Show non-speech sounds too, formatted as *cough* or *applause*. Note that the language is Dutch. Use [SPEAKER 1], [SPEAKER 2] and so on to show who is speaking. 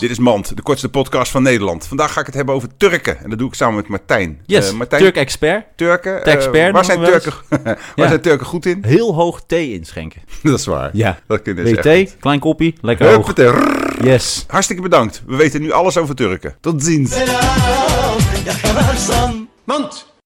[SPEAKER 1] Dit is Mand, de kortste podcast van Nederland. Vandaag ga ik het hebben over Turken. En dat doe ik samen met Martijn.
[SPEAKER 2] Yes,
[SPEAKER 1] Eh, Martijn,
[SPEAKER 2] Turk-expert.
[SPEAKER 1] Turken. eh,
[SPEAKER 2] Turk-expert
[SPEAKER 1] waar
[SPEAKER 2] noemen
[SPEAKER 1] zijn
[SPEAKER 2] we wel eens.
[SPEAKER 1] Turken, *laughs* waar
[SPEAKER 2] Ja.
[SPEAKER 1] zijn Turken goed
[SPEAKER 2] *laughs*
[SPEAKER 1] in?
[SPEAKER 2] Heel hoog thee inschenken.
[SPEAKER 1] dat is waar.
[SPEAKER 2] Ja.
[SPEAKER 1] Dat kunnen ze echt.
[SPEAKER 2] WT, klein koppie, lekker hoog.
[SPEAKER 1] Huppatee, rrr.
[SPEAKER 2] Yes.
[SPEAKER 1] Hartstikke bedankt. We weten nu alles over Turken. Tot ziens.
[SPEAKER 3] selam yakalarsan Mant